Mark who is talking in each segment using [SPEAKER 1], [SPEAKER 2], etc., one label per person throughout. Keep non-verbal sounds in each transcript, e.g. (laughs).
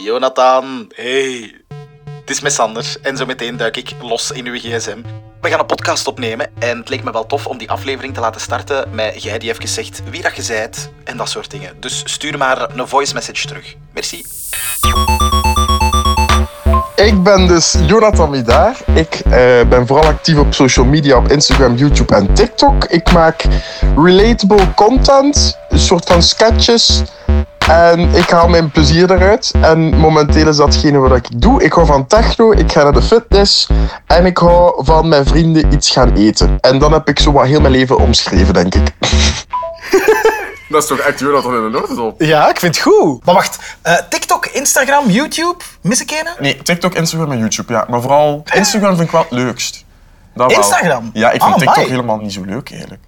[SPEAKER 1] Jonathan, hey. Het is met Sander en zo meteen duik ik los in uw gsm. We gaan een podcast opnemen en het leek me wel tof om die aflevering te laten starten met jij die heeft gezegd wie dat je zijt en dat soort dingen. Dus stuur maar een voice message terug. Merci.
[SPEAKER 2] Ik ben dus Jonathan Midaar. Ik eh, ben vooral actief op social media, op Instagram, YouTube en TikTok. Ik maak relatable content, een soort van sketches. En ik haal mijn plezier eruit. En momenteel is datgene wat ik doe. Ik hou van techno, ik ga naar de fitness. En ik hou van mijn vrienden iets gaan eten. En dan heb ik zo wat heel mijn leven omschreven, denk ik.
[SPEAKER 3] (laughs) Dat is toch echt Jonathan in de Noordop?
[SPEAKER 4] Ja, ik vind het goed. Maar wacht, eh, TikTok, Instagram, YouTube, mis ik een?
[SPEAKER 3] Nee, TikTok, Instagram en YouTube, ja. Maar vooral Instagram vind ik wel het leukst. Dat wel.
[SPEAKER 4] Instagram?
[SPEAKER 3] Ja, ik vind
[SPEAKER 4] Ah,
[SPEAKER 3] TikTok
[SPEAKER 4] amai.
[SPEAKER 3] helemaal niet zo leuk eigenlijk.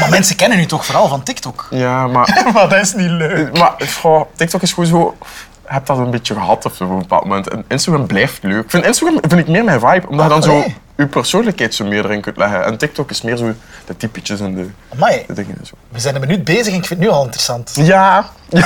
[SPEAKER 4] Maar mensen kennen u toch vooral van TikTok? (laughs)
[SPEAKER 3] Ja, maar,
[SPEAKER 4] maar dat is niet leuk.
[SPEAKER 3] (laughs) maar goh, TikTok is gewoon zo... Je hebt dat een beetje gehad of zo op een bepaald moment. En Instagram blijft leuk. Ik vind Instagram vind ik meer mijn vibe, omdat je dan zo
[SPEAKER 4] Allee.
[SPEAKER 3] je persoonlijkheid zo meer erin kunt leggen. En TikTok is meer zo de typetjes en de,
[SPEAKER 4] Amai,
[SPEAKER 3] de dingen en zo.
[SPEAKER 4] we zijn een minuut bezig en ik vind het nu al interessant.
[SPEAKER 3] Ja.
[SPEAKER 4] Allee,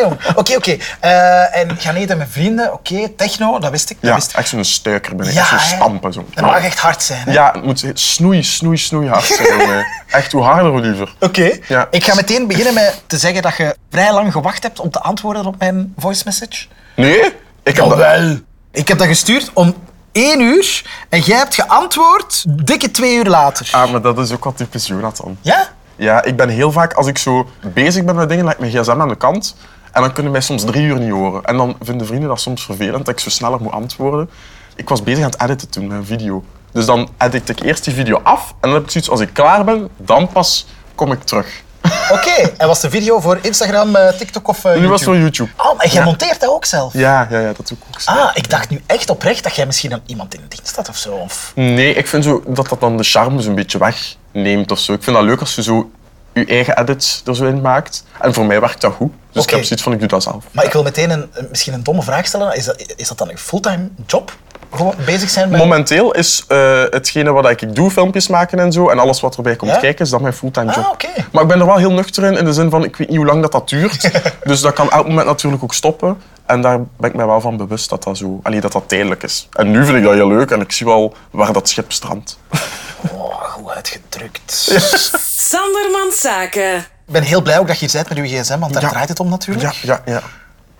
[SPEAKER 4] jong. Oké, oké. Eh, en gaan eten met vrienden, oké. Techno, dat wist ik. Dat
[SPEAKER 3] Ja,
[SPEAKER 4] wist ik.
[SPEAKER 3] echt zo'n stuiker ben ik.
[SPEAKER 4] Ja,
[SPEAKER 3] echt zo'n
[SPEAKER 4] hè.
[SPEAKER 3] stampen zo.
[SPEAKER 4] Dat mag echt hard zijn. hè.
[SPEAKER 3] Ja, het moet snoei, snoei, snoei hard (laughs) zijn. jongen. Echt, hoe harder, hoe liever.
[SPEAKER 4] Oké.
[SPEAKER 3] Ja.
[SPEAKER 4] Ik ga meteen beginnen met te zeggen dat je vrij lang gewacht hebt om te antwoorden op mijn voice message.
[SPEAKER 3] Nee? Ik heb dat...
[SPEAKER 4] wel. Ik heb dat gestuurd om één uur en jij hebt geantwoord dikke twee uur later.
[SPEAKER 3] Ah, maar dat is ook wat typisch Jonathan.
[SPEAKER 4] Ja?
[SPEAKER 3] Ja, ik ben heel vaak, als ik zo bezig ben met dingen, leg ik mijn gsm aan de kant. En dan kunnen mij soms drie uur niet horen. En dan vinden vrienden dat soms vervelend, dat ik zo sneller moet antwoorden. Ik was bezig aan het editen toen, mijn video. Dus dan edit ik eerst die video af. En dan heb ik zoiets, als ik klaar ben, dan pas kom ik terug.
[SPEAKER 4] Oké. En was de video voor Instagram, eh, TikTok of eh,
[SPEAKER 3] Nu
[SPEAKER 4] YouTube?
[SPEAKER 3] was het voor YouTube.
[SPEAKER 4] Oh, en jij monteert dat ook zelf?
[SPEAKER 3] Ja, ja, ja, dat doe ik ook. snel.
[SPEAKER 4] Ah, ik dacht nu echt oprecht dat jij misschien aan iemand in dienst had of zo. Of...
[SPEAKER 3] Nee, ik vind zo dat dat dan de charme zo'n beetje wegneemt of zo. Ik vind dat leuk als je zo je eigen edits er zo in maakt. En voor mij werkt dat goed. Dus ik
[SPEAKER 4] Oké.
[SPEAKER 3] heb zoiets van, ik doe dat zelf.
[SPEAKER 4] Maar ik wil meteen een, een- misschien een domme vraag stellen. Is dat, is dat dan een fulltime job? Gewoon bezig zijn met...
[SPEAKER 3] Momenteel is eh, hetgene wat ik doe, filmpjes maken en zo, en alles wat erbij komt
[SPEAKER 4] Ja?
[SPEAKER 3] kijken, is dat mijn fulltime job.
[SPEAKER 4] Ah, oké.
[SPEAKER 3] Maar ik ben er wel heel nuchter in, in de zin van, ik weet niet hoe lang dat,
[SPEAKER 4] (laughs)
[SPEAKER 3] dat duurt. dus dat kan elk moment natuurlijk ook stoppen. En daar ben ik mij wel van bewust dat dat zo, allee, dat dat tijdelijk is. En nu vind ik dat heel leuk en ik zie wel waar dat schip strandt.
[SPEAKER 4] Oh, goed uitgedrukt.
[SPEAKER 5] Sandermans Zaken.
[SPEAKER 4] Ik ben heel blij ook dat je hier bent met uw gsm, want daar
[SPEAKER 3] Ja.
[SPEAKER 4] draait het om natuurlijk.
[SPEAKER 3] Ja, ja, ja.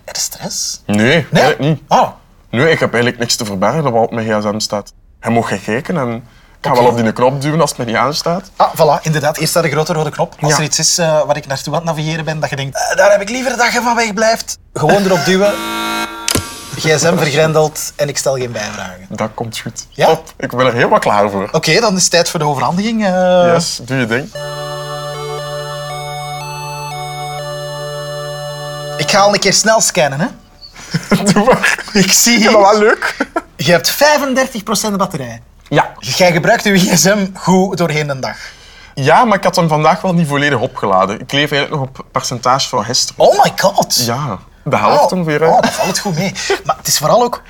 [SPEAKER 4] Er is stress.
[SPEAKER 3] Nee, eigenlijk niet.
[SPEAKER 4] Oh,
[SPEAKER 3] Nee, ik heb eigenlijk niks te verbergen dat wat op mijn gsm staat. Hij mag gaan kijken en ik ga wel op die knop duwen als het mij niet aanstaat.
[SPEAKER 4] ah, voilà, inderdaad. Eerst staat de grote rode knop. Als
[SPEAKER 3] Ja.
[SPEAKER 4] er iets is eh, waar ik naartoe aan het navigeren ben, dat je denkt, eh, daar heb ik liever dat je van weg blijft. Gewoon erop duwen. GSM vergrendeld en ik stel geen bijvragen.
[SPEAKER 3] Dat komt goed.
[SPEAKER 4] Ja?
[SPEAKER 3] Top, ik ben er helemaal klaar voor.
[SPEAKER 4] Oké, dan is het tijd voor de overhandiging. eh.
[SPEAKER 3] Yes, doe je ding.
[SPEAKER 4] Ik ga al een keer snel scannen, hè.
[SPEAKER 3] Doe (laughs) maar.
[SPEAKER 4] Ik zie
[SPEAKER 3] Ja, maar
[SPEAKER 4] hier,
[SPEAKER 3] wel leuk.
[SPEAKER 4] je hebt 35% batterij.
[SPEAKER 3] Ja.
[SPEAKER 4] Dus Jij gebruikt je gsm goed doorheen de dag.
[SPEAKER 3] ja, maar ik had hem vandaag wel niet volledig opgeladen. Ik leef eigenlijk nog op percentage van gisteren.
[SPEAKER 4] Oh my god.
[SPEAKER 3] Ja, de helft
[SPEAKER 4] oh,
[SPEAKER 3] ongeveer. hè.
[SPEAKER 4] oh, dat valt goed mee. Maar het is vooral ook...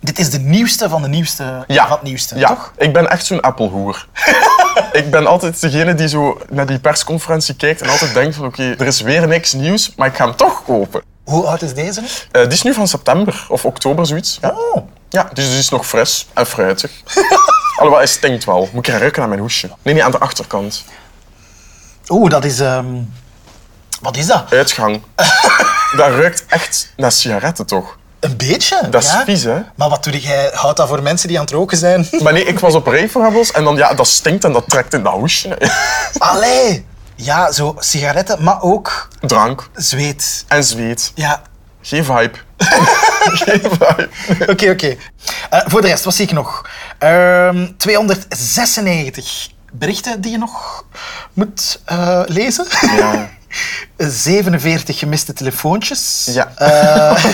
[SPEAKER 4] Dit is de nieuwste van de nieuwste
[SPEAKER 3] ja.
[SPEAKER 4] van het nieuwste,
[SPEAKER 3] ja.
[SPEAKER 4] toch?
[SPEAKER 3] Ik ben echt zo'n appelhoer. (laughs) ik ben altijd degene die zo naar die persconferentie kijkt en altijd denkt van oké, er is weer niks nieuws, maar ik ga hem toch kopen.
[SPEAKER 4] Hoe oud is deze?
[SPEAKER 3] Eh, die is nu van september of oktober, zoiets. Ja,
[SPEAKER 4] Oh.
[SPEAKER 3] ja dus die is nog fris en fruitig. (laughs) Alhoewel, hij stinkt wel. Moet ik gaan ruiken aan mijn hoesje? Nee, nee, aan de achterkant.
[SPEAKER 4] Oeh, dat is... ehm, Wat is dat?
[SPEAKER 3] Uitgang. (laughs) dat ruikt echt naar sigaretten, toch?
[SPEAKER 4] Een beetje.
[SPEAKER 3] Dat is
[SPEAKER 4] ja?
[SPEAKER 3] vies, hè?
[SPEAKER 4] Maar wat doe jij? Houdt dat voor mensen die aan het roken zijn? (laughs)
[SPEAKER 3] Maar nee, ik was op Reefrabbels en dan, ja, dat stinkt en dat trekt in dat hoesje. (laughs)
[SPEAKER 4] Allee! Ja, zo sigaretten, maar ook
[SPEAKER 3] Drank
[SPEAKER 4] zweet.
[SPEAKER 3] en zweet.
[SPEAKER 4] Ja.
[SPEAKER 3] Geen vibe. (laughs) Geen vibe.
[SPEAKER 4] Oké, oké. Eh, voor de rest, wat zie ik nog? Ehm, 296 berichten die je nog moet eh, lezen. (laughs)
[SPEAKER 3] Ja.
[SPEAKER 4] 47 gemiste telefoontjes.
[SPEAKER 3] Ja.
[SPEAKER 4] (laughs)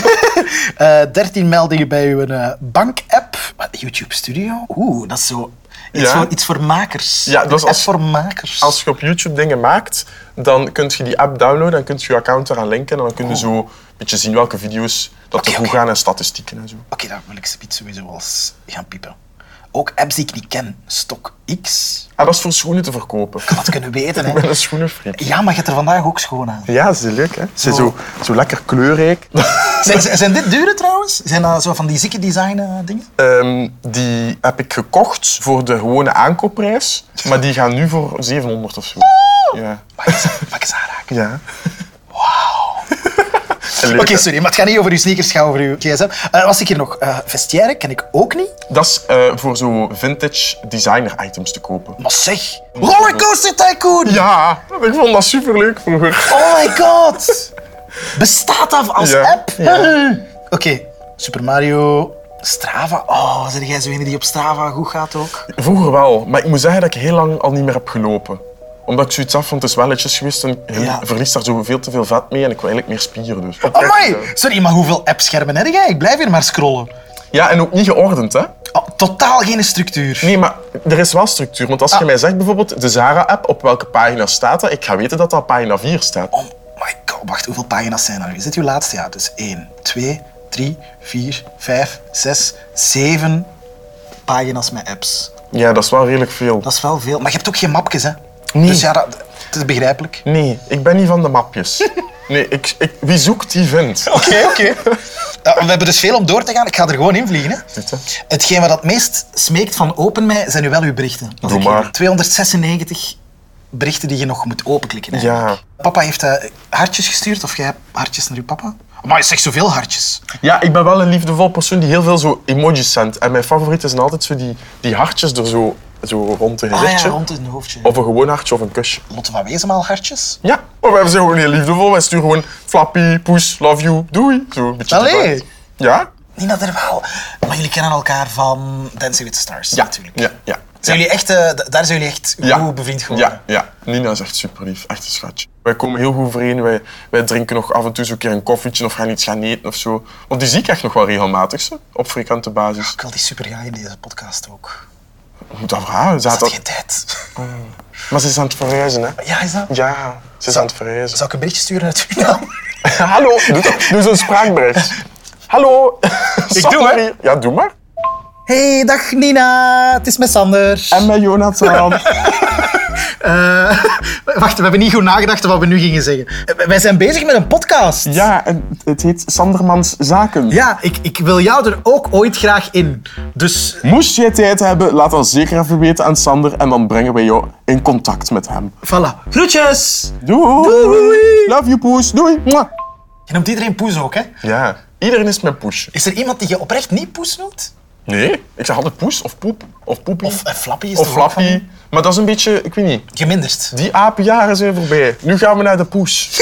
[SPEAKER 4] Eh, eh, 13 meldingen bij uw eh, bank-app. Wat, YouTube Studio? Oeh, dat is zo. Iets,
[SPEAKER 3] Ja.
[SPEAKER 4] voor, iets voor makers.
[SPEAKER 3] Ja, dat is
[SPEAKER 4] Een
[SPEAKER 3] als-
[SPEAKER 4] app voor makers.
[SPEAKER 3] Als je op YouTube dingen maakt, dan kun je die app downloaden en kun je je account eraan linken. En dan kun je zo een beetje zien welke video's dat
[SPEAKER 4] Oké,
[SPEAKER 3] er goed
[SPEAKER 4] oké.
[SPEAKER 3] gaan en statistieken en zo.
[SPEAKER 4] Oké, dan wil ik zoiets sowieso wel eens gaan piepen. Ook apps die ik niet ken. Stock X.
[SPEAKER 3] En Ah, dat is voor schoenen te verkopen.
[SPEAKER 4] Wat kunnen weten,
[SPEAKER 3] (laughs) Ik
[SPEAKER 4] hè?
[SPEAKER 3] ben een schoenenfreak.
[SPEAKER 4] Ja, maar je hebt er vandaag ook schoon aan.
[SPEAKER 3] Ja, ze zijn leuk, hè? Ze zijn zo, zo lekker kleurrijk. (laughs)
[SPEAKER 4] Zijn, zijn- zijn dit dure trouwens? Zijn dat zo van die zieke design eh, dingen?
[SPEAKER 3] Ehm, die heb ik gekocht voor de gewone aankoopprijs. Maar die gaan nu voor 700 of zo. Ja.
[SPEAKER 4] Mag ik ze, mag ik ze aanraken?
[SPEAKER 3] ja. Wauw.
[SPEAKER 4] Oké, sorry, maar het gaat niet over uw sneakers, het gaat over uw gsm. Eh was ik hier nog? eh vestiaire ken ik ook niet.
[SPEAKER 3] Dat is eh, voor zo vintage designer items te kopen.
[SPEAKER 4] Maar zeg, Rollercoaster Tycoon!
[SPEAKER 3] Ja, ik vond dat superleuk vroeger.
[SPEAKER 4] Oh my god! Bestaat dat als
[SPEAKER 3] Ja,
[SPEAKER 4] app? (laughs) Oké, Super Mario, Strava. Oh, zijn jij zo een die op Strava goed gaat ook?
[SPEAKER 3] Vroeger wel, maar ik moet zeggen dat ik heel lang al niet meer heb gelopen. Omdat ik zoiets af vond, het is welletjes geweest en ik
[SPEAKER 4] Ja.
[SPEAKER 3] verlies daar zo veel te veel vet mee en ik wil eigenlijk meer spieren dus.
[SPEAKER 4] Oh my! Sorry, maar hoeveel appschermen heb jij? Ik blijf hier maar scrollen.
[SPEAKER 3] Ja, en ook niet geordend hè.
[SPEAKER 4] Oh, totaal geen structuur.
[SPEAKER 3] Nee, maar er is wel structuur, want als
[SPEAKER 4] Ah.
[SPEAKER 3] je mij zegt bijvoorbeeld de Zara-app, op welke pagina staat dat, ik ga weten dat dat op pagina 4 staat.
[SPEAKER 4] Oh my god, wacht, hoeveel pagina's zijn er nu? Is dit uw laatste? Ja, dus 1, 2, 3, 4, 5, 6, 7 pagina's met apps.
[SPEAKER 3] Ja, dat is wel redelijk veel.
[SPEAKER 4] Dat is wel veel. Maar je hebt ook geen mapjes, hè?
[SPEAKER 3] Nee.
[SPEAKER 4] Dus ja, dat, dat is begrijpelijk.
[SPEAKER 3] Nee, ik ben niet van de
[SPEAKER 4] (laughs)
[SPEAKER 3] mapjes. Nee, ik, ik, wie zoekt, die vindt.
[SPEAKER 4] Oké, oké. Ja, we hebben dus veel om door te gaan. Ik ga er gewoon in vliegen. Hè.
[SPEAKER 3] Zitten.
[SPEAKER 4] Hetgeen wat het meest smeekt van open mij, zijn nu wel uw berichten. Want
[SPEAKER 3] Doe
[SPEAKER 4] ik heb
[SPEAKER 3] maar.
[SPEAKER 4] 296 berichten die je nog moet openklikken. eigenlijk. Papa heeft eh, hartjes gestuurd, of jij hebt hartjes naar je papa? Maar je zegt zoveel hartjes.
[SPEAKER 3] Ja, ik ben wel een liefdevol persoon die heel veel zo emojis zendt. En mijn favorieten zijn altijd zo die, die hartjes er zo, zo rond een
[SPEAKER 4] Ah ja,
[SPEAKER 3] gezichtje.
[SPEAKER 4] rond in het hoofdje.
[SPEAKER 3] Of een gewoon hartje of een kusje.
[SPEAKER 4] Lotte van Wezenmaal hartjes?
[SPEAKER 3] Ja, maar wij zijn gewoon heel liefdevol. Wij sturen gewoon flappy, poes, love you, doei. Zo een beetje
[SPEAKER 4] Allee.
[SPEAKER 3] erbij. Ja?
[SPEAKER 4] Nina er wel. Maar jullie kennen elkaar van Dancing with the Stars
[SPEAKER 3] Ja,
[SPEAKER 4] natuurlijk.
[SPEAKER 3] Ja, ja.
[SPEAKER 4] Zijn jullie echt, eh, d- daar zijn jullie echt
[SPEAKER 3] Ja.
[SPEAKER 4] goed bevriend geworden?
[SPEAKER 3] Ja, ja, Nina is echt super lief, echt een schatje. Wij komen heel goed overeen, wij, wij drinken nog af en toe zo'n keer een koffietje of gaan iets gaan eten of zo. Want die zie ik echt nog wel regelmatig, zo, op frequente basis.
[SPEAKER 4] Ik wil die super graag in deze podcast ook.
[SPEAKER 3] Ik moet dat vragen, ze
[SPEAKER 4] Is dat
[SPEAKER 3] had dat-
[SPEAKER 4] geen tijd? (laughs)
[SPEAKER 3] Maar ze is aan het verhuizen, hè?
[SPEAKER 4] Ja, is dat?
[SPEAKER 3] Ja, ze is aan het verhuizen.
[SPEAKER 4] Zou ik een berichtje sturen uit Vietnam?
[SPEAKER 3] (laughs) Hallo, doe, dat- doe zo'n
[SPEAKER 4] (laughs)
[SPEAKER 3] spraakbericht. Hallo. Ik
[SPEAKER 4] doe, hè?
[SPEAKER 3] Ja, doe maar.
[SPEAKER 4] Hey, dag Nina, het is met Sander.
[SPEAKER 3] met Jonathan. (laughs)
[SPEAKER 4] Eh, (laughs) wacht, we hebben niet goed nagedacht wat we nu gingen zeggen. Eh, Wij zijn bezig met een podcast.
[SPEAKER 3] ja, en het heet Sandermans Zaken.
[SPEAKER 4] Ja, ik, ik wil jou er ook ooit graag in. Dus
[SPEAKER 3] Moest je tijd hebben, laat dan zeker even weten aan Sander en dan brengen wij jou in contact met hem.
[SPEAKER 4] voilà. Groetjes!
[SPEAKER 3] Doei. Love you, poes. Doei. Mwah.
[SPEAKER 4] Je noemt iedereen poes ook, hè?
[SPEAKER 3] Ja, iedereen is mijn poesje.
[SPEAKER 4] Is er iemand die je oprecht niet poes noemt?
[SPEAKER 3] Nee, ik zeg altijd poes of poep of poepie
[SPEAKER 4] Of eh, Flappy is
[SPEAKER 3] of
[SPEAKER 4] toch ook
[SPEAKER 3] flappy. Maar dat is een beetje, ik weet niet.
[SPEAKER 4] van- Geminderd.
[SPEAKER 3] Die apenjaren zijn voorbij. Nu gaan we naar de
[SPEAKER 4] (laughs)
[SPEAKER 3] poes.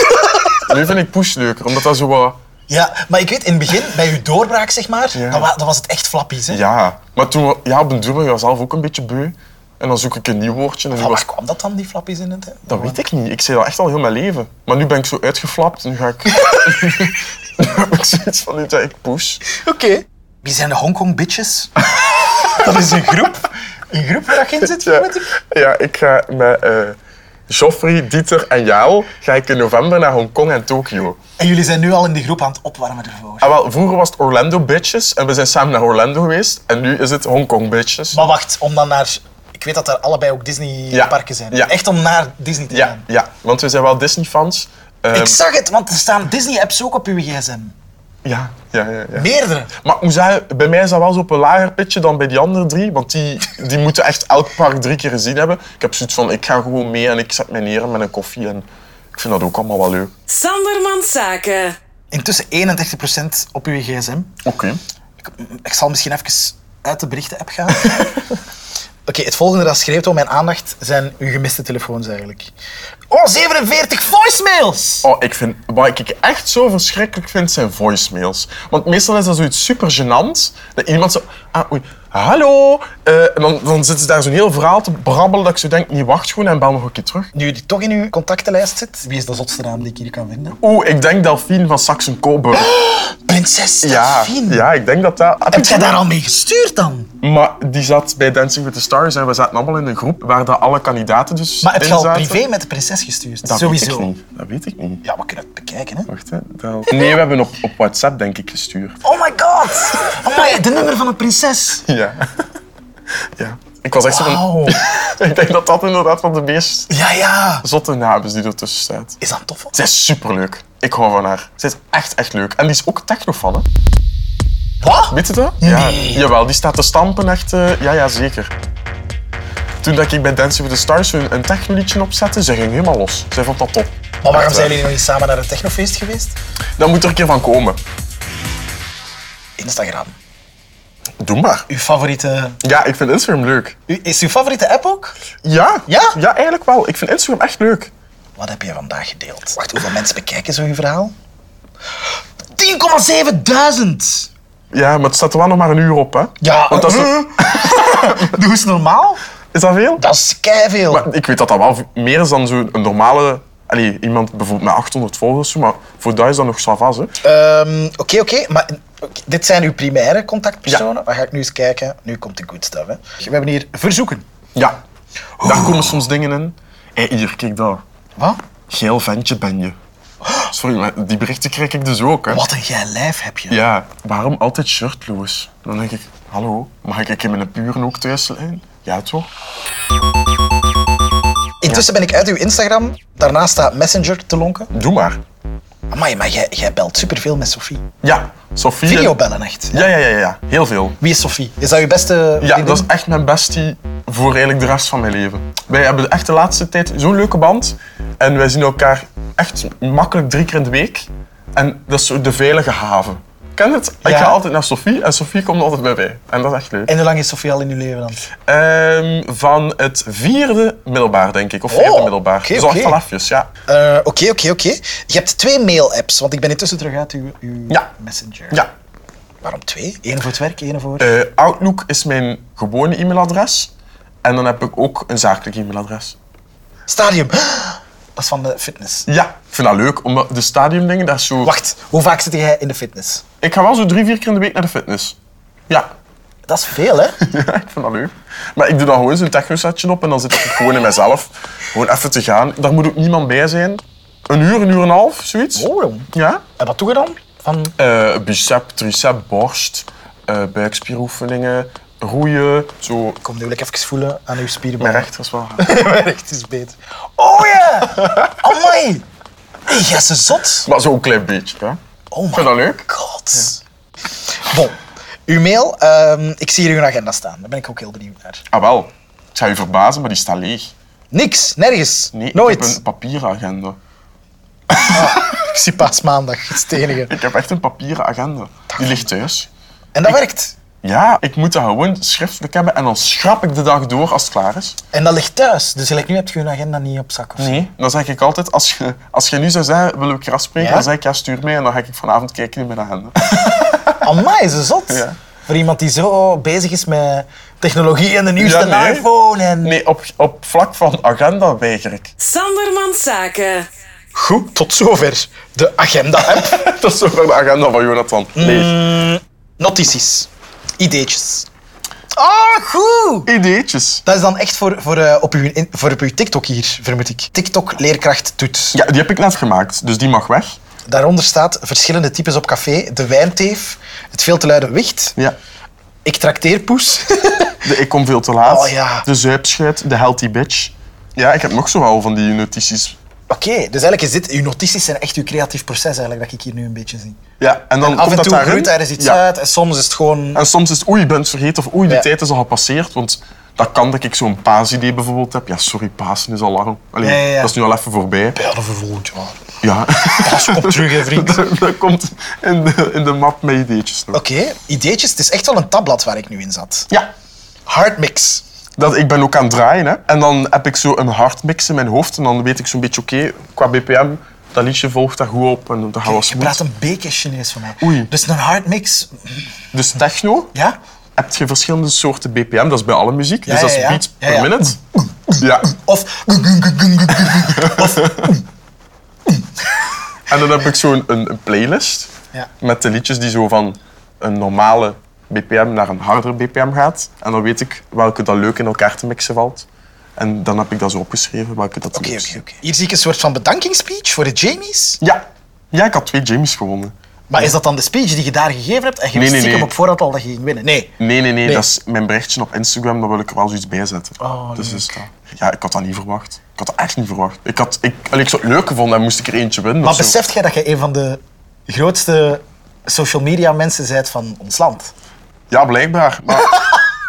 [SPEAKER 3] nu vind ik poes leuker, omdat dat zo wat...
[SPEAKER 4] Ja, maar ik weet, in het begin, bij uw doorbraak, zeg maar,
[SPEAKER 3] Ja.
[SPEAKER 4] dan, wa- dan was het echt Flappies, hè?
[SPEAKER 3] Ja, maar toen, we- ja, op een duur ben ik daar zelf ook een beetje beu. En dan zoek ik een nieuw woordje. En nu
[SPEAKER 4] Van
[SPEAKER 3] was,
[SPEAKER 4] waar kwam dat dan, die Flappies in het? hè?
[SPEAKER 3] dat weet ik niet. Ik zei dat echt al heel mijn leven. Maar nu ben ik zo uitgeflapt. Nu
[SPEAKER 4] (laughs)
[SPEAKER 3] ga ik... (laughs) nu heb ik zoiets van, nu dat ik poes.
[SPEAKER 4] Oké. Wie zijn de Hongkong Bitches? (laughs) dat is een groep. Een groep waar je in zit,
[SPEAKER 3] Ja,
[SPEAKER 4] vermoed ik.
[SPEAKER 3] ja ik ga met eh Joffrey, Dieter en Jaal ga ik in november naar Hongkong en Tokio.
[SPEAKER 4] En jullie zijn nu al in de groep aan het opwarmen ervoor.
[SPEAKER 3] En wel, vroeger was het Orlando Bitches en we zijn samen naar Orlando geweest. En nu is het Hongkong Bitches.
[SPEAKER 4] Maar wacht, om dan naar... Ik weet dat daar allebei ook Disney-parken zijn.
[SPEAKER 3] Ja.
[SPEAKER 4] Echt om naar Disney te
[SPEAKER 3] Ja,
[SPEAKER 4] gaan.
[SPEAKER 3] ja, want we zijn wel Disney-fans. Ehm,
[SPEAKER 4] Ik zag het, want er staan Disney-apps ook op uw gsm.
[SPEAKER 3] ja, ja, ja, ja.
[SPEAKER 4] Meerdere.
[SPEAKER 3] Maar hoe zei- bij mij is dat wel zo op een lager pitje dan bij die andere drie. Want die, die moeten echt elk park drie keer gezien hebben. Ik heb zoiets van, ik ga gewoon mee en ik zet mij neer met een koffie. En ik vind dat ook allemaal wel leuk.
[SPEAKER 5] Sandermans Zaken.
[SPEAKER 4] Intussen 31% op uw gsm.
[SPEAKER 3] Oké.
[SPEAKER 4] Ik, ik zal misschien even uit de berichten-app gaan. (laughs) Oké, het volgende dat schreeuwt om mijn aandacht zijn uw gemiste telefoons eigenlijk. Oh, 47 voicemails!
[SPEAKER 3] Oh, ik vind, wat ik echt zo verschrikkelijk vind, zijn voicemails. Want meestal is dat zoiets super gênants. Dat iemand zo... Ah, oei, hallo! eh, en dan, dan zitten ze daar zo'n heel verhaal te brabbelen dat ik zo denk, niet wacht gewoon en bel nog een keer terug.
[SPEAKER 4] Nu die toch in uw contactenlijst zit, wie is de zotste naam die ik hier kan vinden?
[SPEAKER 3] Oeh, ik denk Delphine van
[SPEAKER 4] (gasps)
[SPEAKER 3] Saxen-Coburg.
[SPEAKER 4] Prinses
[SPEAKER 3] Ja,
[SPEAKER 4] Delphine.
[SPEAKER 3] ja, ik denk dat dat...
[SPEAKER 4] Heb jij daar al mee gestuurd dan?
[SPEAKER 3] Maar die zat bij Dancing with the Stars en we zaten allemaal in een groep waar dat alle kandidaten dus
[SPEAKER 4] Maar heb je
[SPEAKER 3] in
[SPEAKER 4] al
[SPEAKER 3] zaten.
[SPEAKER 4] privé met de prinses gestuurd?
[SPEAKER 3] Dat
[SPEAKER 4] Sowieso.
[SPEAKER 3] Weet ik niet. Dat weet ik niet.
[SPEAKER 4] Ja, we kunnen het bekijken, hè?
[SPEAKER 3] Wacht, hè. Dat- Nee, we hebben op, op WhatsApp denk ik gestuurd.
[SPEAKER 4] Oh my god! Amai, de nummer van een prinses.
[SPEAKER 3] Ja. (laughs) Ja. Ik was echt zo van...
[SPEAKER 4] Wauw.
[SPEAKER 3] (laughs) Ik denk dat dat inderdaad van de meest
[SPEAKER 4] Ja, ja.
[SPEAKER 3] zotte naam is die ertussen staat.
[SPEAKER 4] Is dat tof? hoor?
[SPEAKER 3] Zij is superleuk. Ik hou van haar. Zij is echt, echt leuk. En die is ook technofan, hè.
[SPEAKER 4] Wat?
[SPEAKER 3] Weet je dat? Ja, jawel, die staat te stampen echt. eh, ja, ja, zeker. Toen dat ik bij Dancing with the Stars een, een technoliedje opzette, ze ging helemaal los. Zij vond dat top.
[SPEAKER 4] Maar waarom
[SPEAKER 3] Echt
[SPEAKER 4] zijn
[SPEAKER 3] waar.
[SPEAKER 4] jullie nog niet samen naar het technofeest geweest?
[SPEAKER 3] Dan moet er een keer van komen.
[SPEAKER 4] Instagram.
[SPEAKER 3] Doe maar.
[SPEAKER 4] Uw favoriete...
[SPEAKER 3] Ja, ik vind Instagram leuk.
[SPEAKER 4] u- Is uw favoriete app ook?
[SPEAKER 3] Ja?
[SPEAKER 4] Ja?
[SPEAKER 3] Ja, eigenlijk wel. Ik vind Instagram echt leuk.
[SPEAKER 4] Wat heb je vandaag gedeeld? Wacht, hoeveel mensen bekijken zo'n verhaal? 10,7000!
[SPEAKER 3] Ja, maar het staat er wel nog maar een uur op, hè?
[SPEAKER 4] Ja,
[SPEAKER 3] Want
[SPEAKER 4] (laughs)
[SPEAKER 3] dat is,
[SPEAKER 4] eh, (laughs) Doe eens normaal.
[SPEAKER 3] is dat veel?
[SPEAKER 4] Dat is keiveel.
[SPEAKER 3] Maar ik weet dat dat wel v- meer is dan zo'n een normale. Allee, iemand bijvoorbeeld met 800 volgers, maar voor dat is dat nog savas, hè?
[SPEAKER 4] Ehm, Oké, oké. Maar oké, dit zijn uw primaire contactpersonen. Dan ga ik nu eens kijken. Nu komt de good stuff. Hè. We hebben hier verzoeken.
[SPEAKER 3] Ja. Daar komen soms dingen in. Hé, hier, kijk daar.
[SPEAKER 4] Wat?
[SPEAKER 3] Geel ventje ben je. Sorry, maar die berichten krijg ik dus ook, hè?
[SPEAKER 4] Wat een geil lijf heb je.
[SPEAKER 3] Ja, waarom altijd shirtloos? Dan denk ik, hallo, mag ik in mijn buren ook thuis zijn? Ja, toch?
[SPEAKER 4] Intussen ben ik uit uw Instagram. Daarnaast staat Messenger te lonken.
[SPEAKER 3] Doe maar.
[SPEAKER 4] Amai, maar jij, jij belt superveel met Sophie.
[SPEAKER 3] Ja, Sophie.
[SPEAKER 4] Videobellen echt.
[SPEAKER 3] Ja, ja, ja, ja, ja. Heel veel.
[SPEAKER 4] Wie is Sophie? Is dat uw beste
[SPEAKER 3] Ja, dat is echt mijn bestie voor eigenlijk de rest van mijn leven. Wij hebben echt de laatste tijd zo'n leuke band. En wij zien elkaar echt makkelijk drie keer in de week. En dat is zo de veilige haven. Ken het? Ik
[SPEAKER 4] Ja.
[SPEAKER 3] ga altijd naar Sophie en Sophie komt altijd bij mij. En dat is echt leuk.
[SPEAKER 4] En hoe lang is Sophie al in uw leven dan?
[SPEAKER 3] Ehm, van het vierde middelbaar, denk ik. Of vierde
[SPEAKER 4] Oh,
[SPEAKER 3] middelbaar.
[SPEAKER 4] oké,
[SPEAKER 3] zo
[SPEAKER 4] oké.
[SPEAKER 3] echt al afjes, ja.
[SPEAKER 4] Eh, Oké, oké, oké. Je hebt twee mail-apps, want ik ben intussen terug uit uw, uw
[SPEAKER 3] Ja.
[SPEAKER 4] Messenger.
[SPEAKER 3] ja.
[SPEAKER 4] Waarom twee? Eén voor het werk, één voor...
[SPEAKER 3] Eh, Outlook is mijn gewone e-mailadres. En dan heb ik ook een zakelijk e-mailadres.
[SPEAKER 4] Stadium. (gasps) Dat is van de fitness.
[SPEAKER 3] Ja, ik vind dat leuk, omdat de stadiumdingen, dat is zo...
[SPEAKER 4] Wacht, hoe vaak zit jij in de fitness?
[SPEAKER 3] Ik ga wel zo drie, vier keer in de week naar de fitness. Ja. (laughs)
[SPEAKER 4] Dat is veel, hè?
[SPEAKER 3] Ja, ik vind dat leuk. Maar ik doe dan gewoon zo'n techno-setje op en dan zit ik gewoon in mezelf. Gewoon even te gaan. Daar moet ook niemand bij zijn. Een uur, een uur en een half, zoiets.
[SPEAKER 4] Oh.
[SPEAKER 3] Ja.
[SPEAKER 4] (laughs) En wat doe je dan? Van...
[SPEAKER 3] Eh, bicep, tricep, borst, eh, buikspieroefeningen, roeien, zo.
[SPEAKER 4] Kom nu wil ik even voelen aan uw spieren.
[SPEAKER 3] Mijn rechter is wel
[SPEAKER 4] (laughs)
[SPEAKER 3] hard.
[SPEAKER 4] Mijn recht is beter. Oh ja! (laughs) Amai! Hey, jij ze zot.
[SPEAKER 3] Maar zo'n klein beetje, hè.
[SPEAKER 4] Oh my
[SPEAKER 3] Vind je dat leuk?
[SPEAKER 4] god. Bon, uw mail. ehm, ik zie hier uw agenda staan. Daar ben ik ook heel benieuwd naar.
[SPEAKER 3] Ah wel, het zou je verbazen, maar die staat leeg.
[SPEAKER 4] Niks, nergens,
[SPEAKER 3] Nee,
[SPEAKER 4] nooit.
[SPEAKER 3] ik heb een papieren agenda.
[SPEAKER 4] Ik zie pas maandag, het is het enige.
[SPEAKER 3] Ik heb echt een papieren agenda. Die ligt thuis.
[SPEAKER 4] En dat werkt.
[SPEAKER 3] Ja, ik moet dat gewoon schriftelijk hebben en dan schrap ik de dag door als het klaar is.
[SPEAKER 4] En dat ligt thuis. Dus gelijk nu heb je uw agenda niet op zak. Of zo.
[SPEAKER 3] Nee. Dan zeg ik altijd, als je, als je nu zou zeggen, wil ik je afspreken?
[SPEAKER 4] Ja?
[SPEAKER 3] Dan zeg ik, ja, stuur mij en dan ga ik vanavond kijken in mijn agenda. (laughs)
[SPEAKER 4] Amai, ze zot.
[SPEAKER 3] Ja.
[SPEAKER 4] Voor iemand die zo bezig is met technologie en de nieuwste
[SPEAKER 3] Ja, nee.
[SPEAKER 4] iPhone. En...
[SPEAKER 3] Nee, op, op vlak van agenda weiger ik. (laughs)
[SPEAKER 5] Sandermans Zaken.
[SPEAKER 4] Goed, tot zover de agenda-app.
[SPEAKER 3] Dat is zover de agenda van Jonathan.
[SPEAKER 4] Mm.
[SPEAKER 3] Nee.
[SPEAKER 4] Notities. Ideetjes. Ah, goed!
[SPEAKER 3] Ideetjes.
[SPEAKER 4] Dat is dan echt voor, voor, eh, op, uw, in- voor op uw TikTok hier, vermoed ik. TikTok-leerkracht doet.
[SPEAKER 3] Ja, die heb ik net gemaakt, dus die mag weg.
[SPEAKER 4] Daaronder staat verschillende types op café. De wijnteef, het veel te luide wicht,
[SPEAKER 3] Ja.
[SPEAKER 4] ik trakteer poes. (laughs)
[SPEAKER 3] De ik kom veel te laat.
[SPEAKER 4] Oh, ja.
[SPEAKER 3] De zuipschuit, de healthy bitch. Ja, ik heb nog zo wel van die notities.
[SPEAKER 4] Oké, dus eigenlijk is dit, uw notities zijn echt uw creatief proces eigenlijk, dat ik hier nu een beetje zie.
[SPEAKER 3] Ja, en dan
[SPEAKER 4] Af
[SPEAKER 3] komt
[SPEAKER 4] en
[SPEAKER 3] dat
[SPEAKER 4] toe
[SPEAKER 3] daarin.
[SPEAKER 4] groeit daar eens iets
[SPEAKER 3] Ja.
[SPEAKER 4] uit en soms is het gewoon...
[SPEAKER 3] En soms is het, oei, je bent het vergeten of oei, de
[SPEAKER 4] Ja.
[SPEAKER 3] tijd is al gepasseerd. Want dat kan dat ik zo'n paasidee bijvoorbeeld heb. Ja, sorry, Pasen is al lang. Allee,
[SPEAKER 4] Ja, ja, ja.
[SPEAKER 3] Dat is nu al even voorbij.
[SPEAKER 4] Bellen voor volgend jaar.
[SPEAKER 3] Ja.
[SPEAKER 4] Pas op terug, hè, vriend. Oké,
[SPEAKER 3] (laughs) dat, dat komt in de, in de map met ideetjes nog.
[SPEAKER 4] ideetjes. Het is echt wel een tabblad waar ik nu in zat.
[SPEAKER 3] Ja.
[SPEAKER 4] Hardmix.
[SPEAKER 3] Dat, ik ben ook aan het draaien. Hè. En dan heb ik zo een hardmix in mijn hoofd. En dan weet ik zo'n beetje, oké, qua BPM, dat liedje volgt daar goed op. En dan gaan we
[SPEAKER 4] Je praat
[SPEAKER 3] smooth.
[SPEAKER 4] een beetje Chinees van mij.
[SPEAKER 3] Oei.
[SPEAKER 4] Dus een hardmix,
[SPEAKER 3] Dus techno,
[SPEAKER 4] ja?
[SPEAKER 3] heb je verschillende soorten BPM. Dat is bij alle muziek. dus dat
[SPEAKER 4] ja,
[SPEAKER 3] is
[SPEAKER 4] ja.
[SPEAKER 3] beats
[SPEAKER 4] Ja,
[SPEAKER 3] per
[SPEAKER 4] ja.
[SPEAKER 3] minute. Ja.
[SPEAKER 4] Of...
[SPEAKER 3] En dan heb ik zo'n een, een playlist
[SPEAKER 4] Ja.
[SPEAKER 3] met de liedjes die zo van een normale BPM naar een harder BPM gaat. En dan weet ik welke dat leuk in elkaar te mixen valt. En dan heb ik dat zo opgeschreven, welke dat
[SPEAKER 4] Oké,
[SPEAKER 3] leuk
[SPEAKER 4] oké, oké. Hier zie ik een soort van bedankingsspeech voor de Jamies.
[SPEAKER 3] Ja. ja, ik had twee Jamies gewonnen.
[SPEAKER 4] Maar is dat dan de speech die je daar gegeven hebt en je
[SPEAKER 3] Nee,
[SPEAKER 4] wist
[SPEAKER 3] nee,
[SPEAKER 4] stiekem
[SPEAKER 3] nee.
[SPEAKER 4] op voorhand al dat je ging winnen? Nee.
[SPEAKER 3] Nee, nee, nee,
[SPEAKER 4] Nee.
[SPEAKER 3] Dat is mijn berichtje op Instagram, daar wil ik er wel zoiets bij zetten.
[SPEAKER 4] Oh,
[SPEAKER 3] dus
[SPEAKER 4] leuk.
[SPEAKER 3] is dat. Ja, ik had dat niet verwacht. Ik had dat echt niet verwacht. Ik, had, ik, allee, ik zou het leuk gevonden en moest ik er eentje winnen.
[SPEAKER 4] Maar
[SPEAKER 3] of zo.
[SPEAKER 4] beseft jij dat je een van de grootste social media mensen bent van ons land?
[SPEAKER 3] Ja, blijkbaar.
[SPEAKER 4] (laughs)
[SPEAKER 3] Maar,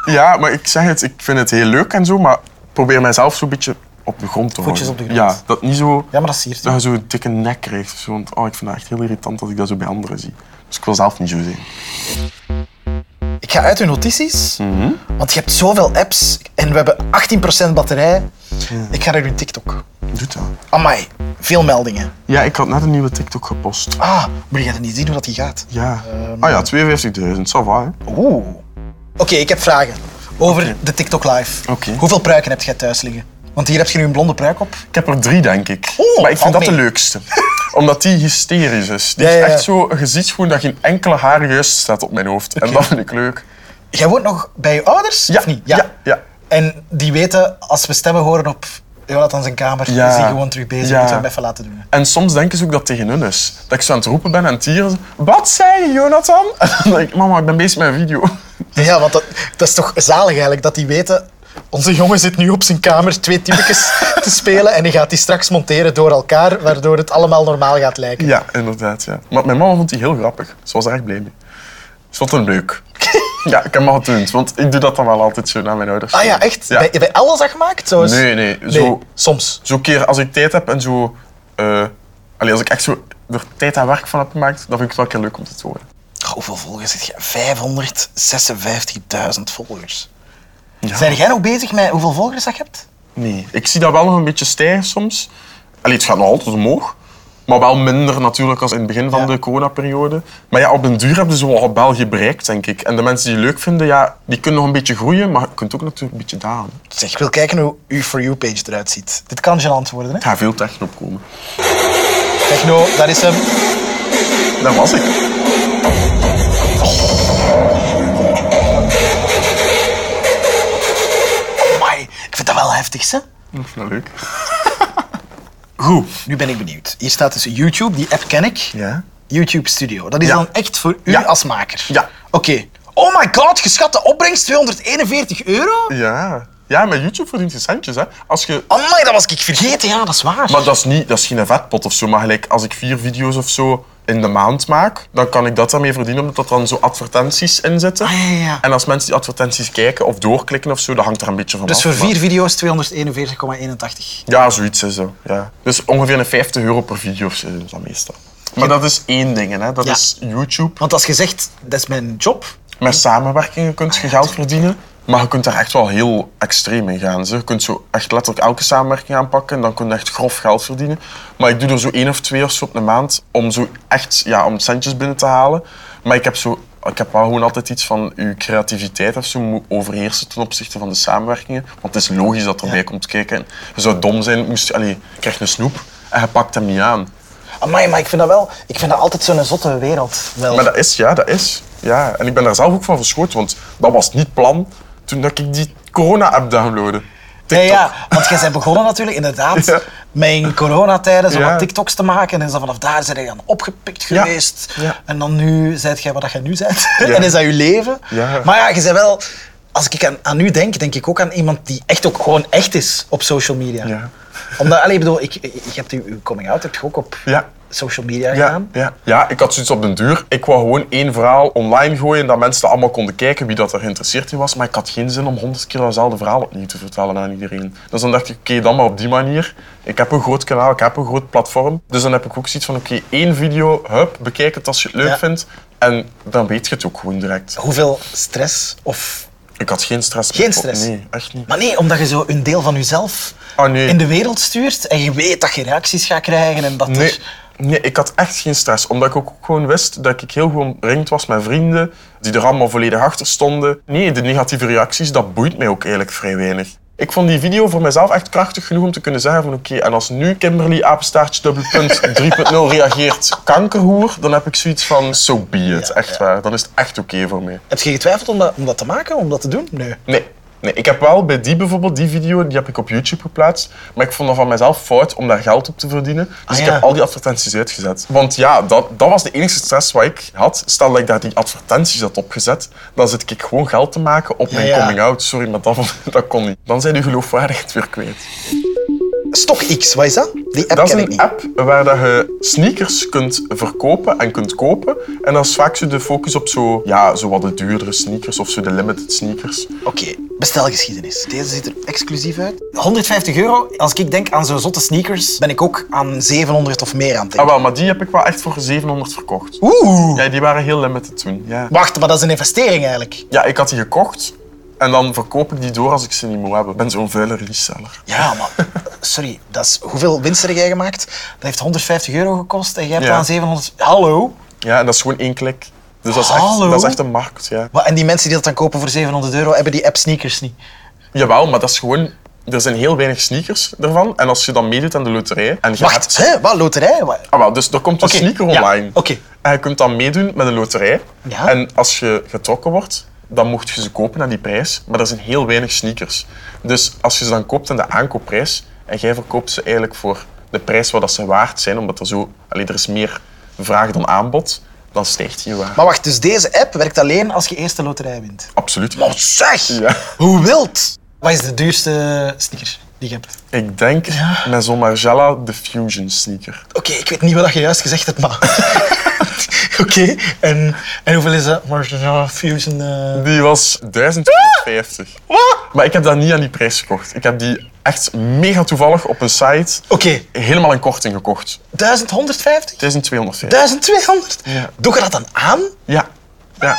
[SPEAKER 3] ja, maar ik zeg het, ik vind het heel leuk en zo, maar ik probeer mijzelf zo'n beetje op de grond te
[SPEAKER 4] Voetjes
[SPEAKER 3] houden.
[SPEAKER 4] op de grond.
[SPEAKER 3] Ja, dat niet zo...
[SPEAKER 4] Ja, maar dat is hier.
[SPEAKER 3] Dat je zo'n dikke nek krijgt. of Zo, want oh, ik vind dat echt heel irritant dat ik dat zo bij anderen zie. Dus ik wil zelf niet zo zijn.
[SPEAKER 4] Ik ga uit uw notities,
[SPEAKER 3] Mhm.
[SPEAKER 4] want je hebt zoveel apps en we hebben 18% batterij. Ik ga naar uw TikTok.
[SPEAKER 3] Doet dat.
[SPEAKER 4] Amai, veel meldingen.
[SPEAKER 3] Ja, ik had net een nieuwe TikTok gepost.
[SPEAKER 4] Ah, moet je dat niet zien hoe dat die gaat?
[SPEAKER 3] Ja.
[SPEAKER 4] Ehm.
[SPEAKER 3] Ah ja, 52.000. Ça va, hè.
[SPEAKER 4] Oeh. Oké, ik heb vragen over de TikTok live.
[SPEAKER 3] Oké.
[SPEAKER 4] Hoeveel pruiken heb jij thuis liggen? Want hier heb je nu een blonde pruik op.
[SPEAKER 3] Ik heb er drie, denk ik.
[SPEAKER 4] Oeh,
[SPEAKER 3] maar ik vind
[SPEAKER 4] valt
[SPEAKER 3] dat de
[SPEAKER 4] mee.
[SPEAKER 3] leukste. (laughs) Omdat die hysterisch is. Die
[SPEAKER 4] oh, Ja,
[SPEAKER 3] is
[SPEAKER 4] ja, ja.
[SPEAKER 3] echt zo... Je ziet gewoon dat geen enkele haar juist staat op mijn hoofd. En dat vind ik leuk.
[SPEAKER 4] Jij woont nog bij je ouders, of niet?
[SPEAKER 3] Ja. ja, ja.
[SPEAKER 4] En die weten, als we stemmen horen op Jonathan zijn kamer,
[SPEAKER 3] Ja.
[SPEAKER 4] is hij gewoon terug bezig.
[SPEAKER 3] Ja.
[SPEAKER 4] Moeten we hem even laten doen.
[SPEAKER 3] En soms denken ze ook dat het tegen hun is. Dat ik zo aan het roepen ben en het hier is, Wat zei je, Jonathan? (laughs) En dan denk ik, mama, ik ben bezig met een video. (laughs)
[SPEAKER 4] Ja, want dat, dat is toch zalig eigenlijk, dat die weten... Onze jongen zit nu op zijn kamer twee typetjes
[SPEAKER 3] (laughs)
[SPEAKER 4] te spelen en die gaat die straks monteren door elkaar, waardoor het allemaal normaal gaat lijken.
[SPEAKER 3] Ja, inderdaad. Ja. Maar mijn mama vond die heel grappig. Ze was er echt blij mee. Ze vond het leuk. (laughs) ja, ik heb me getoond. Want ik doe dat dan wel altijd zo naar mijn ouders.
[SPEAKER 4] Ah ja, echt? Bij, bij alles dat gemaakt? Zo is-
[SPEAKER 3] Nee, nee, zo-
[SPEAKER 4] Soms.
[SPEAKER 3] Zo'n keer als ik tijd heb en zo... eh, allee, als ik echt zo er tijd en werk van heb gemaakt, dan vind ik het wel een keer leuk om te horen.
[SPEAKER 4] Goh, Hoeveel volgers zit je? 556.000 volgers. Zijn jij nog bezig met hoeveel volgers dat je hebt?
[SPEAKER 3] Nee. Ik zie dat wel nog een beetje stijgen soms. Allee, het gaat nog altijd omhoog. Maar wel minder natuurlijk als in het begin van
[SPEAKER 4] Ja.
[SPEAKER 3] de coronaperiode. Maar ja, op den duur hebben ze wel België bereikt, denk ik. En de mensen die het leuk vinden, ja, die kunnen nog een beetje groeien, maar je kunt ook natuurlijk een beetje dalen.
[SPEAKER 4] Zeg, ik wil kijken hoe uw For You-page eruit ziet. Dit kan gênant worden, hè?
[SPEAKER 3] Er gaat veel techno opkomen.
[SPEAKER 4] Techno, dat is hem.
[SPEAKER 3] Daar was ik.
[SPEAKER 4] Amai, ik vind dat wel heftig, hè?
[SPEAKER 3] Dat vind ik leuk. Goed.
[SPEAKER 4] Nu ben ik benieuwd. Hier staat dus YouTube, die app ken ik.
[SPEAKER 3] Ja?
[SPEAKER 4] YouTube Studio. Dat is
[SPEAKER 3] Ja.
[SPEAKER 4] dan echt voor u
[SPEAKER 3] Ja.
[SPEAKER 4] als maker?
[SPEAKER 3] Ja.
[SPEAKER 4] Oké. Oh my god, geschatte opbrengst 241 euro?
[SPEAKER 3] Ja. Ja, maar YouTube verdient je centjes, hè. Als je...
[SPEAKER 4] Amai, dat was ik vergeten. Ja, dat is waar.
[SPEAKER 3] Maar dat is, niet, dat is geen vetpot of zo. Maar gelijk, als ik vier video's of zo in de maand maak, dan kan ik dat daarmee verdienen, omdat dat dan zo advertenties in zitten.
[SPEAKER 4] Ah, ja, ja.
[SPEAKER 3] En als mensen die advertenties kijken of doorklikken of zo, dat hangt er een beetje van
[SPEAKER 4] Dus
[SPEAKER 3] af.
[SPEAKER 4] voor vier
[SPEAKER 3] maar-
[SPEAKER 4] video's 241,81.
[SPEAKER 3] Ja, zoiets is zo. Ja. Dus ongeveer een 50 euro per video of zo is dat meestal. Maar dat is één ding, hè. Dat
[SPEAKER 4] Ja.
[SPEAKER 3] is YouTube.
[SPEAKER 4] Want als je zegt, dat is mijn job.
[SPEAKER 3] Met samenwerkingen kun je geld verdienen. Maar je kunt daar echt wel heel extreem in gaan. Zeg. Je kunt zo echt letterlijk elke samenwerking aanpakken en dan kun je echt grof geld verdienen. Maar ik doe er zo één of twee of zo op een maand om zo echt ja, om centjes binnen te halen. Maar ik heb, zo, ik heb wel gewoon altijd iets van je creativiteit of zo moet overheersen ten opzichte van de samenwerkingen. Want het is logisch dat erbij komt kijken. En je zou dom zijn, moest je, allee, je krijgt een snoep en je pakt hem niet aan.
[SPEAKER 4] Amai, maar ik vind dat wel... Ik vind dat altijd zo'n zotte wereld. Wel.
[SPEAKER 3] Maar dat is, ja, dat is. Ja. En ik ben daar zelf ook van verschoten, want dat was niet plan toen dat ik die corona-app downloadde.
[SPEAKER 4] Ja, ja, want jij bent begonnen natuurlijk, inderdaad,
[SPEAKER 3] (laughs) Ja.
[SPEAKER 4] met in coronatijden zo
[SPEAKER 3] Ja.
[SPEAKER 4] wat TikToks te maken. En dan vanaf daar zijn jij dan opgepikt
[SPEAKER 3] Ja.
[SPEAKER 4] geweest.
[SPEAKER 3] Ja.
[SPEAKER 4] En dan nu zijt jij wat dat jij nu bent. (laughs) en is dat je leven.
[SPEAKER 3] Ja.
[SPEAKER 4] Maar ja, je bent wel... Als ik aan, aan u denk, denk ik ook aan iemand die echt ook gewoon echt is op social media.
[SPEAKER 3] Ja.
[SPEAKER 4] Omdat, allee, ik bedoel, ik, ik ik heb uw uw coming out heb je ook op
[SPEAKER 3] Ja.
[SPEAKER 4] social media
[SPEAKER 3] Ja,
[SPEAKER 4] gedaan.
[SPEAKER 3] ja. ja, ik had zoiets op den duur. Ik wou gewoon één verhaal online gooien dat mensen dat allemaal konden kijken, wie dat er geïnteresseerd in was. Maar ik had geen zin om honderd keer datzelfde verhaal opnieuw te vertellen aan iedereen. Dus dan dacht ik, oké, dan maar op die manier. Ik heb een groot kanaal, ik heb een groot platform. Dus dan heb ik ook zoiets van, oké, één video, hup, bekijk het als je het leuk
[SPEAKER 4] Ja.
[SPEAKER 3] vindt. En dan weet je het ook gewoon direct.
[SPEAKER 4] Hoeveel stress of...
[SPEAKER 3] Ik had geen stress.
[SPEAKER 4] Geen stress?
[SPEAKER 3] Oh, Nee, echt niet.
[SPEAKER 4] Maar nee, omdat je zo een deel van jezelf
[SPEAKER 3] Ah, nee.
[SPEAKER 4] in de wereld stuurt en je weet dat je reacties gaat krijgen en dat
[SPEAKER 3] Nee,
[SPEAKER 4] er...
[SPEAKER 3] nee, ik had echt geen stress. Omdat ik ook gewoon wist dat ik heel gewoon omringd was met vrienden die er allemaal volledig achter stonden. Nee, de negatieve reacties, dat boeit mij ook eigenlijk vrij weinig. Ik vond die video voor mezelf echt krachtig genoeg om te kunnen zeggen van oké, en als nu Kimberly apenstaartje dubbelpunt 3.0 reageert kankerhoer, dan heb ik zoiets van so be it, echt waar. Dan is het echt oké voor mij.
[SPEAKER 4] Heb je getwijfeld om dat, om dat te maken, om dat te doen? Nee.
[SPEAKER 3] Nee, Nee, ik heb wel bij die bijvoorbeeld, die video, die heb ik op YouTube geplaatst. Maar ik vond dat van mezelf fout om daar geld op te verdienen. Dus ik
[SPEAKER 4] Ah, ja.
[SPEAKER 3] heb al die advertenties uitgezet. Want ja, dat, dat was de enige stress wat ik had. Stel dat ik daar die advertenties had opgezet, dan zit ik gewoon geld te maken op mijn
[SPEAKER 4] ja.
[SPEAKER 3] coming-out. Sorry, maar dat, (laughs) vond- dat kon niet. Dan zijn uw geloofwaardigheid weer kwijt.
[SPEAKER 4] StockX, wat is dat? Die app
[SPEAKER 3] Dat is
[SPEAKER 4] ken ik
[SPEAKER 3] een
[SPEAKER 4] niet.
[SPEAKER 3] app waar dat je sneakers kunt verkopen en kunt kopen. En dat is vaak zo de focus op zo, ja, zo wat de duurdere sneakers of zo de limited sneakers.
[SPEAKER 4] Oké, bestelgeschiedenis. Deze ziet er exclusief uit. 150 euro. Als ik denk aan zo'n zotte sneakers, ben ik ook aan 700 of meer aan het
[SPEAKER 3] Ah
[SPEAKER 4] denken.
[SPEAKER 3] wel, maar die heb ik wel echt voor 700 verkocht.
[SPEAKER 4] Oeh.
[SPEAKER 3] Ja, die waren heel limited toen. Ja.
[SPEAKER 4] Wacht, maar dat is een investering eigenlijk.
[SPEAKER 3] ja, ik had die gekocht en dan verkoop ik die door als ik ze niet moet hebben. Ik ben zo'n vuile reseller.
[SPEAKER 4] Ja,
[SPEAKER 3] (laughs)
[SPEAKER 4] maar sorry, dat is, hoeveel winst heb jij gemaakt? Dat heeft 150 euro gekost en jij hebt
[SPEAKER 3] Ja.
[SPEAKER 4] aan 700. Hallo?
[SPEAKER 3] Ja, en dat is gewoon één klik. Dus dat is, echt,
[SPEAKER 4] Hallo?
[SPEAKER 3] dat is echt een markt, ja.
[SPEAKER 4] Wat, en die mensen die dat dan kopen voor 700 euro hebben die app sneakers niet.
[SPEAKER 3] Jawel, maar dat is gewoon... Er zijn heel weinig sneakers ervan. En als je dan meedoet aan de loterij... En je
[SPEAKER 4] Wacht,
[SPEAKER 3] hebt-
[SPEAKER 4] hè? Wat, loterij? Wat?
[SPEAKER 3] Ah, wel, dus er komt een
[SPEAKER 4] Oké,
[SPEAKER 3] sneaker
[SPEAKER 4] ja,
[SPEAKER 3] online.
[SPEAKER 4] oké.
[SPEAKER 3] En je kunt dan meedoen met een loterij.
[SPEAKER 4] Ja.
[SPEAKER 3] En als je getrokken wordt, dan mocht je ze kopen aan die prijs. Maar er zijn heel weinig sneakers. Dus als je ze dan koopt aan de aankoopprijs en jij verkoopt ze eigenlijk voor de prijs wat dat ze waard zijn, omdat er zo, allee, er is meer vraag dan aanbod, dan stijgt je waarde.
[SPEAKER 4] Maar wacht, dus deze app werkt alleen als je eerst de loterij wint.
[SPEAKER 3] Absoluut.
[SPEAKER 4] Maar Oh, zeg!
[SPEAKER 3] Ja.
[SPEAKER 4] Hoe wild? Wat is de duurste sneaker die je hebt?
[SPEAKER 3] Ik denk met zo'n Margiela de Fusion sneaker.
[SPEAKER 4] Oké, ik weet niet wat je juist gezegd hebt, maar... (laughs) Oké, en, en hoeveel is dat? Marginal Fusion... eh,
[SPEAKER 3] Die was 1250. Maar ik heb dat niet aan die prijs gekocht. Ik heb die echt mega toevallig op een site
[SPEAKER 4] Oké,
[SPEAKER 3] helemaal een korting gekocht.
[SPEAKER 4] 1150?
[SPEAKER 3] Het is een 250.
[SPEAKER 4] 1200?
[SPEAKER 3] Ja.
[SPEAKER 4] Doe je dat dan aan?
[SPEAKER 3] Ja. ja.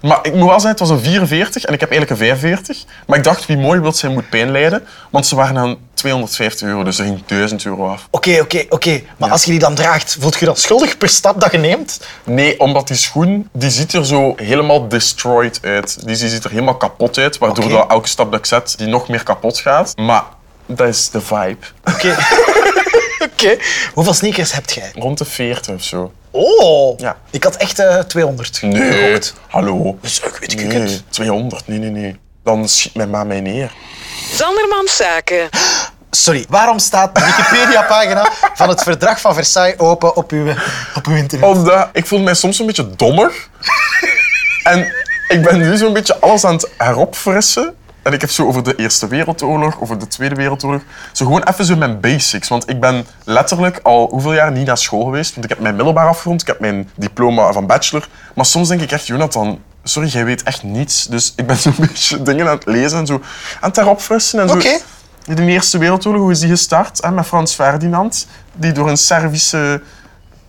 [SPEAKER 3] Maar ik moet wel zeggen, het was een 44 en ik heb eigenlijk een 45. Maar ik dacht, wie mooi wilt zijn, moet pijn lijden. Want ze waren aan 250 euro, dus er ging 1000 euro af.
[SPEAKER 4] Oké, oké, oké. Maar als je die dan draagt, voelt je dan schuldig per stap dat je neemt?
[SPEAKER 3] Nee, omdat die schoen, die ziet er zo helemaal destroyed uit. Die ziet er helemaal kapot uit, waardoor
[SPEAKER 4] Oké.
[SPEAKER 3] dat elke stap dat ik zet, die nog meer kapot gaat. Maar dat is de vibe. (laughs)
[SPEAKER 4] Oké. oké. Hoeveel sneakers heb jij?
[SPEAKER 3] Rond de 40 of zo.
[SPEAKER 4] Oh!
[SPEAKER 3] Ja.
[SPEAKER 4] Ik had echt eh 200.
[SPEAKER 3] Nee, hallo.
[SPEAKER 4] Dus ik weet ik
[SPEAKER 3] Nee,
[SPEAKER 4] het.
[SPEAKER 3] 200, nee, nee, nee. Dan schiet mijn ma mij neer.
[SPEAKER 5] Sandermans Zaken.
[SPEAKER 4] Sorry, waarom staat de
[SPEAKER 3] (laughs)
[SPEAKER 4] Wikipedia-pagina van het Verdrag van Versailles open op uw, op uw internet?
[SPEAKER 3] Omdat ik voelde mij soms een beetje dommer. en ik ben nu zo'n beetje alles aan het heropfrissen. En ik heb zo over de Eerste Wereldoorlog, over de Tweede Wereldoorlog. Zo gewoon even zo mijn basics. Want ik ben letterlijk al hoeveel jaar niet naar school geweest. Want ik heb mijn middelbaar afgerond, ik heb mijn diploma van bachelor. Maar soms denk ik echt, Jonathan, sorry, jij weet echt niets. Dus ik ben zo'n (laughs) beetje dingen aan het lezen en zo aan het heropfrissen. En zo.
[SPEAKER 4] Oké.
[SPEAKER 3] De Eerste Wereldoorlog, hoe is die gestart? Hè, met Frans Ferdinand, die door een Servische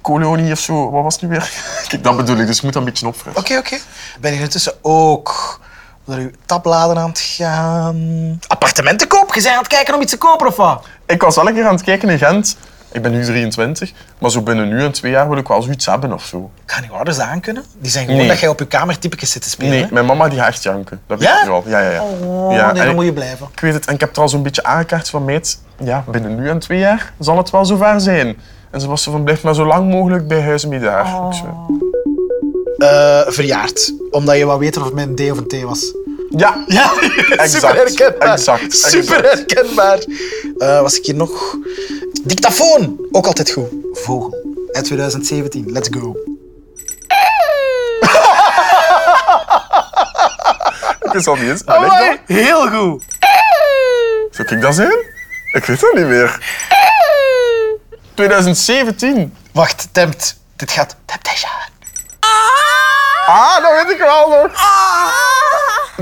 [SPEAKER 3] kolonie of zo, wat was het nu weer? (laughs) Kijk, dat bedoel ik, dus ik moet dat een beetje opfrissen.
[SPEAKER 4] Oké, oké. Ben je intussen ook naar uw tabbladen aan het gaan? Appartementen koop? Je bent aan het kijken om iets te kopen of wat?
[SPEAKER 3] Ik was wel een keer aan het kijken in Gent. Ik ben nu 23, maar zo binnen nu en twee jaar wil ik wel zoiets hebben of zo.
[SPEAKER 4] Gaan uw ouders dat aan kunnen? Die zijn gewoon
[SPEAKER 3] Nee.
[SPEAKER 4] dat jij op je kamer typetjes zit te spelen.
[SPEAKER 3] Nee,
[SPEAKER 4] hè?
[SPEAKER 3] mijn mama die gaat echt janken. Dat weet
[SPEAKER 4] Ja?
[SPEAKER 3] ik nu al. Ja, ja, ja.
[SPEAKER 4] Oh,
[SPEAKER 3] ja
[SPEAKER 4] nee, dan
[SPEAKER 3] en ik-
[SPEAKER 4] moet je blijven.
[SPEAKER 3] Ik weet het, en ik heb er al zo'n beetje aangekaart van meid, ja, binnen nu en twee jaar zal het wel zover zijn. En ze was zo van, blijf maar zo lang mogelijk bij huis met haar. Ik zo,
[SPEAKER 4] Oh. Eh, verjaard. Omdat je wou weten of het met een D of een T was.
[SPEAKER 3] Ja,
[SPEAKER 4] Ja, (laughs) super herkenbaar.
[SPEAKER 3] Exact, exact.
[SPEAKER 4] Super herkenbaar. Eh, was ik hier nog? Dictafoon, ook altijd goed. Vogel, uit 2017, let's go.
[SPEAKER 3] ik wist dat niet eens. Maar ik dan?
[SPEAKER 4] heel goed.
[SPEAKER 3] Zou ik dat zijn? Ik weet dat niet meer. 2017.
[SPEAKER 4] Wacht, tempt. Dit gaat temptation.
[SPEAKER 3] Ah, dat weet ik wel nog.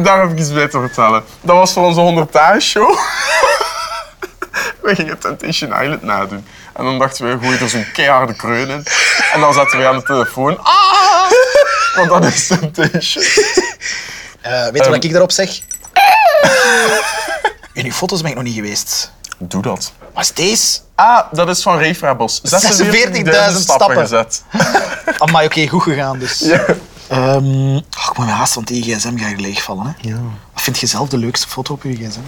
[SPEAKER 3] Daar heb ik iets bij te vertellen. Dat was voor onze 100 dagen show. (laughs) We gingen Temptation Island nadoen. En dan dachten we, gooi er zo'n keiharde kreun in. En dan zaten we aan de telefoon. Ah! Want dat is Temptation.
[SPEAKER 4] Eh, weet je wat ik daarop zeg? (laughs) In uw foto's ben ik nog niet geweest.
[SPEAKER 3] Doe dat.
[SPEAKER 4] Maar is deze?
[SPEAKER 3] Ah, dat is van Rafe Rebels.
[SPEAKER 4] 46.000 stappen.
[SPEAKER 3] gezet. (laughs)
[SPEAKER 4] Amai, oké, goed gegaan dus. Ehm, oh, ik moet me haast, want die gsm gaat hier leegvallen. Hè? Wat vind je zelf de leukste foto op je gsm?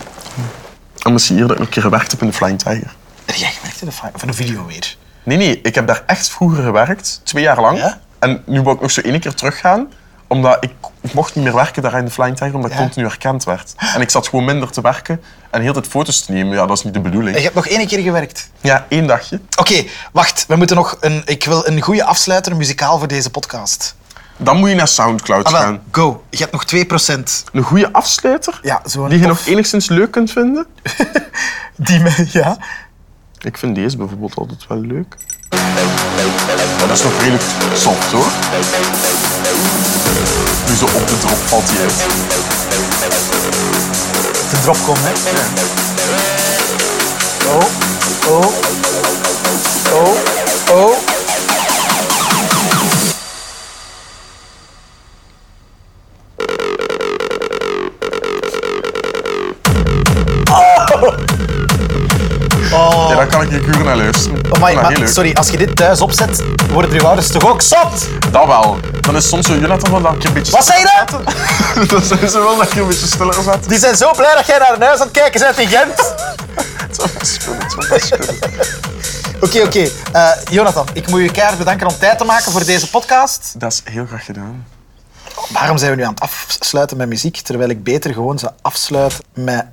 [SPEAKER 3] En misschien hier dat ik een keer gewerkt heb in de Flying Tiger.
[SPEAKER 4] Heb jij gemerkt in de fi- of in de video weer?
[SPEAKER 3] Nee, nee, ik heb daar echt vroeger gewerkt, twee jaar lang.
[SPEAKER 4] Ja?
[SPEAKER 3] En nu wou ik nog zo één keer teruggaan, Omdat ik, ik mocht niet meer werken daar in de Flying Tiger, omdat ik
[SPEAKER 4] Ja.
[SPEAKER 3] continu herkend werd. En ik zat gewoon minder te werken en heel de tijd foto's te nemen. Ja, dat is niet de
[SPEAKER 4] En je
[SPEAKER 3] bedoeling.
[SPEAKER 4] hebt nog één keer gewerkt.
[SPEAKER 3] Ja, één dagje.
[SPEAKER 4] Oké, wacht. We moeten nog een, ik wil een goede afsluiter muzikaal voor deze podcast.
[SPEAKER 3] Dan moet je naar Soundcloud
[SPEAKER 4] Ah, wel,
[SPEAKER 3] gaan.
[SPEAKER 4] go. Je hebt nog 2%.
[SPEAKER 3] Een goede afsluiter,
[SPEAKER 4] Ja, zo'n
[SPEAKER 3] die je
[SPEAKER 4] tof-
[SPEAKER 3] nog enigszins leuk kunt vinden.
[SPEAKER 4] (laughs) die me, ja.
[SPEAKER 3] Ik vind deze bijvoorbeeld altijd wel leuk. Maar dat is nog redelijk soft hoor. Nu zo op de drop valt hij uit.
[SPEAKER 4] De drop komen, hè. Oh, oh, oh, oh.
[SPEAKER 3] Ja, daar kan ik je uren naar luisteren.
[SPEAKER 4] Oh my,
[SPEAKER 3] Ik vind dat heel
[SPEAKER 4] maar,
[SPEAKER 3] leuk.
[SPEAKER 4] sorry, als je dit thuis opzet, worden uw ouders toch ook zot?
[SPEAKER 3] Dat wel. Dan is soms zo Jonathan wel dat ik een beetje...
[SPEAKER 4] Wat zei je dan?
[SPEAKER 3] Dan zijn ze wel (laughs) dat je een beetje stiller zat.
[SPEAKER 4] Die zijn zo blij dat jij naar een huis aan het kijken bent in
[SPEAKER 3] (laughs)
[SPEAKER 4] Gent.
[SPEAKER 3] Het zou best kunnen, het zou best kunnen.
[SPEAKER 4] Oké, oké. Eh, Jonathan, ik moet je keihard bedanken om tijd te maken voor deze podcast.
[SPEAKER 3] Dat is heel graag gedaan.
[SPEAKER 4] Waarom zijn we nu aan het afsluiten met muziek, terwijl ik beter gewoon zou afsluiten met